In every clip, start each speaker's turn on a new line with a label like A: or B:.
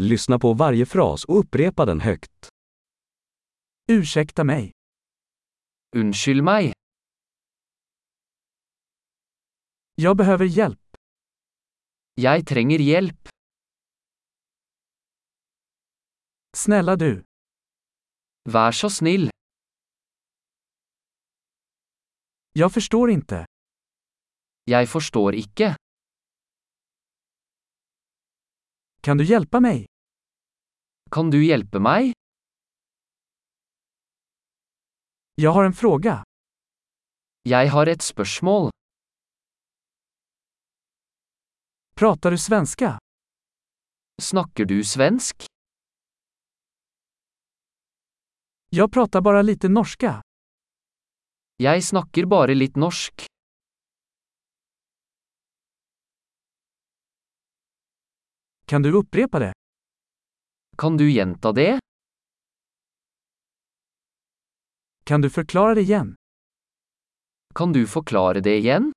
A: Lyssna på varje fras och upprepa den högt.
B: Ursäkta mig.
C: Unnskyld meg.
B: Jag behöver hjälp.
C: Jeg trenger hjelp.
B: Snälla du.
C: Vær så snill.
B: Jag förstår inte.
C: Jeg forstår ikke.
B: Kan du hjälpa mig?
C: Kan du hjelpe meg?
B: Jag har en fråga.
C: Jeg har et spørsmål.
B: Pratar du svenska?
C: Snakker du svensk?
B: Jag pratar bara lite norska.
C: Jeg snakker bare litt norsk.
B: Kan du upprepa det?
C: Kan du gjenta det?
B: Kan du förklara det igen?
C: Kan du forklare det igjen?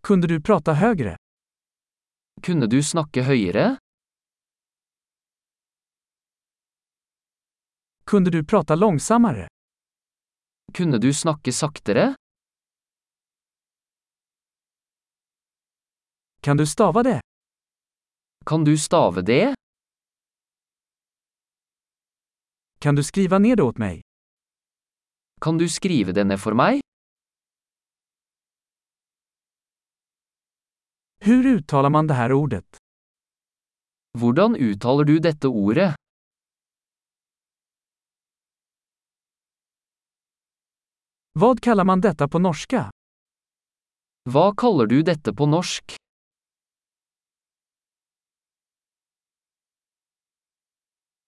B: Kunde du prata högre?
C: Kunne du snakke høyere?
B: Kunde du prata långsammare?
C: Kunne du snakke saktere?
B: Kan du stava det?
C: Kan du stave det?
B: Kan du skriva ner det åt mig?
C: Kan du skrive det ned for meg?
B: Hur uttalar man det här ordet?
C: Hvordan uttaler du dette ordet?
B: Vad kallar man detta på norska?
C: Hva kaller du dette på norsk?